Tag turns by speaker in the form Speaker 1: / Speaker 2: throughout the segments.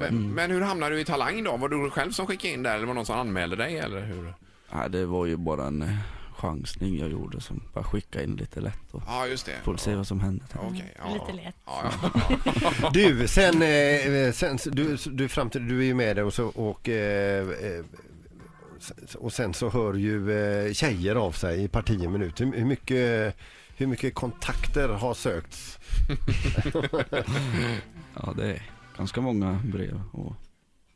Speaker 1: Men, men hur hamnade du i Talang då? Var det du själv som skickade in där eller var det någon som anmälde dig eller hur?
Speaker 2: Nej, det var ju bara en eh, chansning jag gjorde som bara skickade in lite lätt och
Speaker 1: Ja, just det.
Speaker 2: får se vad som händer.
Speaker 1: Okej, ja.
Speaker 3: Mm, Lite lätt.
Speaker 1: Ja, ja.
Speaker 4: Du, sen, eh, sen du, du, fram till, du är ju med där och, så, och, eh, eh, och sen så hör ju eh, tjejer av sig i parti en minut. Hur, hur, mycket, hur mycket kontakter har sökts?
Speaker 2: Ja, det är ganska många brev och,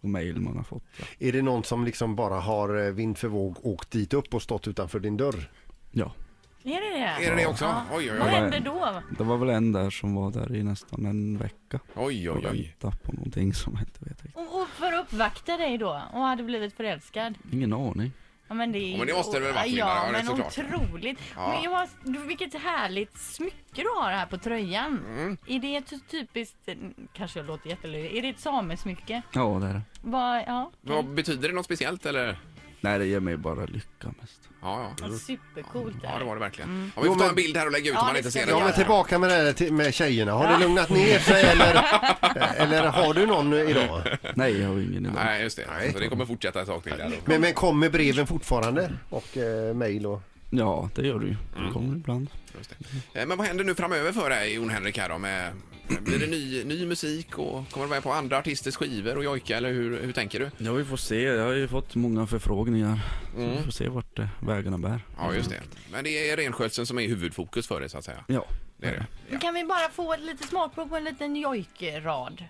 Speaker 2: och mejl man har fått. Ja.
Speaker 4: Är det någon som liksom bara har eh, vind för våg åkt dit upp och stått utanför din dörr?
Speaker 2: ja,
Speaker 3: Är det
Speaker 1: Är det
Speaker 3: det?
Speaker 1: det också?
Speaker 3: Ja.
Speaker 1: Oj, oj,
Speaker 3: Vad
Speaker 1: oj.
Speaker 3: händer då?
Speaker 2: det var väl en där som var där i nästan en vecka
Speaker 1: Oj,
Speaker 2: och
Speaker 1: oj, oj.
Speaker 2: väntade på någonting som jag inte vet riktigt.
Speaker 3: Och, och för att uppvakta dig då och hade blivit förälskad.
Speaker 2: Ingen aning.
Speaker 3: Ja, men, det är
Speaker 1: Ja, men det måste det väl varit, Linda?
Speaker 3: Ja,
Speaker 1: Ja, det är
Speaker 3: men
Speaker 1: såklart.
Speaker 3: otroligt.
Speaker 1: Ja.
Speaker 3: Men jag var, du, vilket härligt smycke du har här på tröjan.
Speaker 1: Mm.
Speaker 3: Är det ett typiskt, kanske jag låter jättelöjlig, är det ett samesmycke?
Speaker 2: Ja, det är det.
Speaker 3: Vad, ja,
Speaker 1: Vad betyder det något speciellt eller?
Speaker 2: Nej, det ger mig bara lycka mest.
Speaker 1: Ja, ja.
Speaker 3: supercoolt
Speaker 1: Ja, det var det verkligen. Mm. Ja, vi
Speaker 4: Jo,
Speaker 1: får ta
Speaker 4: men-
Speaker 1: en bild här och lägga ut om
Speaker 3: Ja,
Speaker 1: man
Speaker 3: det
Speaker 1: inte
Speaker 3: ska
Speaker 1: ser
Speaker 3: vi
Speaker 1: det.
Speaker 4: Ja men tillbaka med det här till- med tjejerna. Har det lugnat ner sig eller, eh, eller har du någon idag?
Speaker 2: Nej, jag har ingen idé.
Speaker 1: Nej, Mm. just det. Så det kommer fortsätta ett tag till. Där. då.
Speaker 4: Men, men kommer breven fortfarande? Och eh, mejl och...
Speaker 2: Ja, det gör du ju.
Speaker 1: Mm.
Speaker 2: Det kommer ibland.
Speaker 1: Just det. Eh, Men vad händer nu framöver för dig, Jon Henrik? Här då, med, blir det ny, ny musik och kommer du vara med på andra artisters skivor och jojka eller hur, hur tänker du?
Speaker 2: Ja, vi får se. Jag har ju fått många förfrågningar.
Speaker 1: Mm.
Speaker 2: Så vi får se vart eh, vägarna bär.
Speaker 1: Ja, just det. Men det är renskötseln som är huvudfokus för dig så att säga.
Speaker 2: Ja.
Speaker 1: Det är det.
Speaker 3: Men Kan vi bara få ett litet smakprov på en liten jojkrad?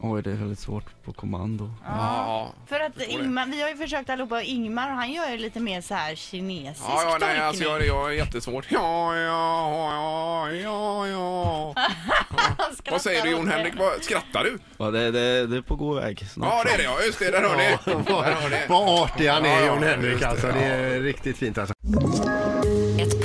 Speaker 2: Oj, det är väldigt svårt på kommando.
Speaker 1: Ja,
Speaker 3: För att
Speaker 1: förstår det.
Speaker 3: Ingmar, vi har ju försökt allihopa och Ingmar han gör ju lite mer så här kinesisk
Speaker 1: Ja, ja, nej,
Speaker 3: tolkning.
Speaker 1: alltså jag, jag är jättesvårt. Ja, ja, ja, ja, ja.
Speaker 3: Han skrattar
Speaker 1: Vad säger du
Speaker 3: åt
Speaker 1: Jon
Speaker 3: det.
Speaker 1: Henrik? Vad, skrattar du?
Speaker 2: Ja, det, det, det är på god väg snart.
Speaker 1: Ja, det är det ja. Just det, där hör ni. Där hör ni.
Speaker 4: Vad artig han
Speaker 1: Ja,
Speaker 4: är
Speaker 1: ja,
Speaker 4: Jon
Speaker 1: just
Speaker 4: Henrik
Speaker 1: det,
Speaker 4: alltså.
Speaker 1: ja.
Speaker 4: Det är riktigt fint alltså.
Speaker 5: Ett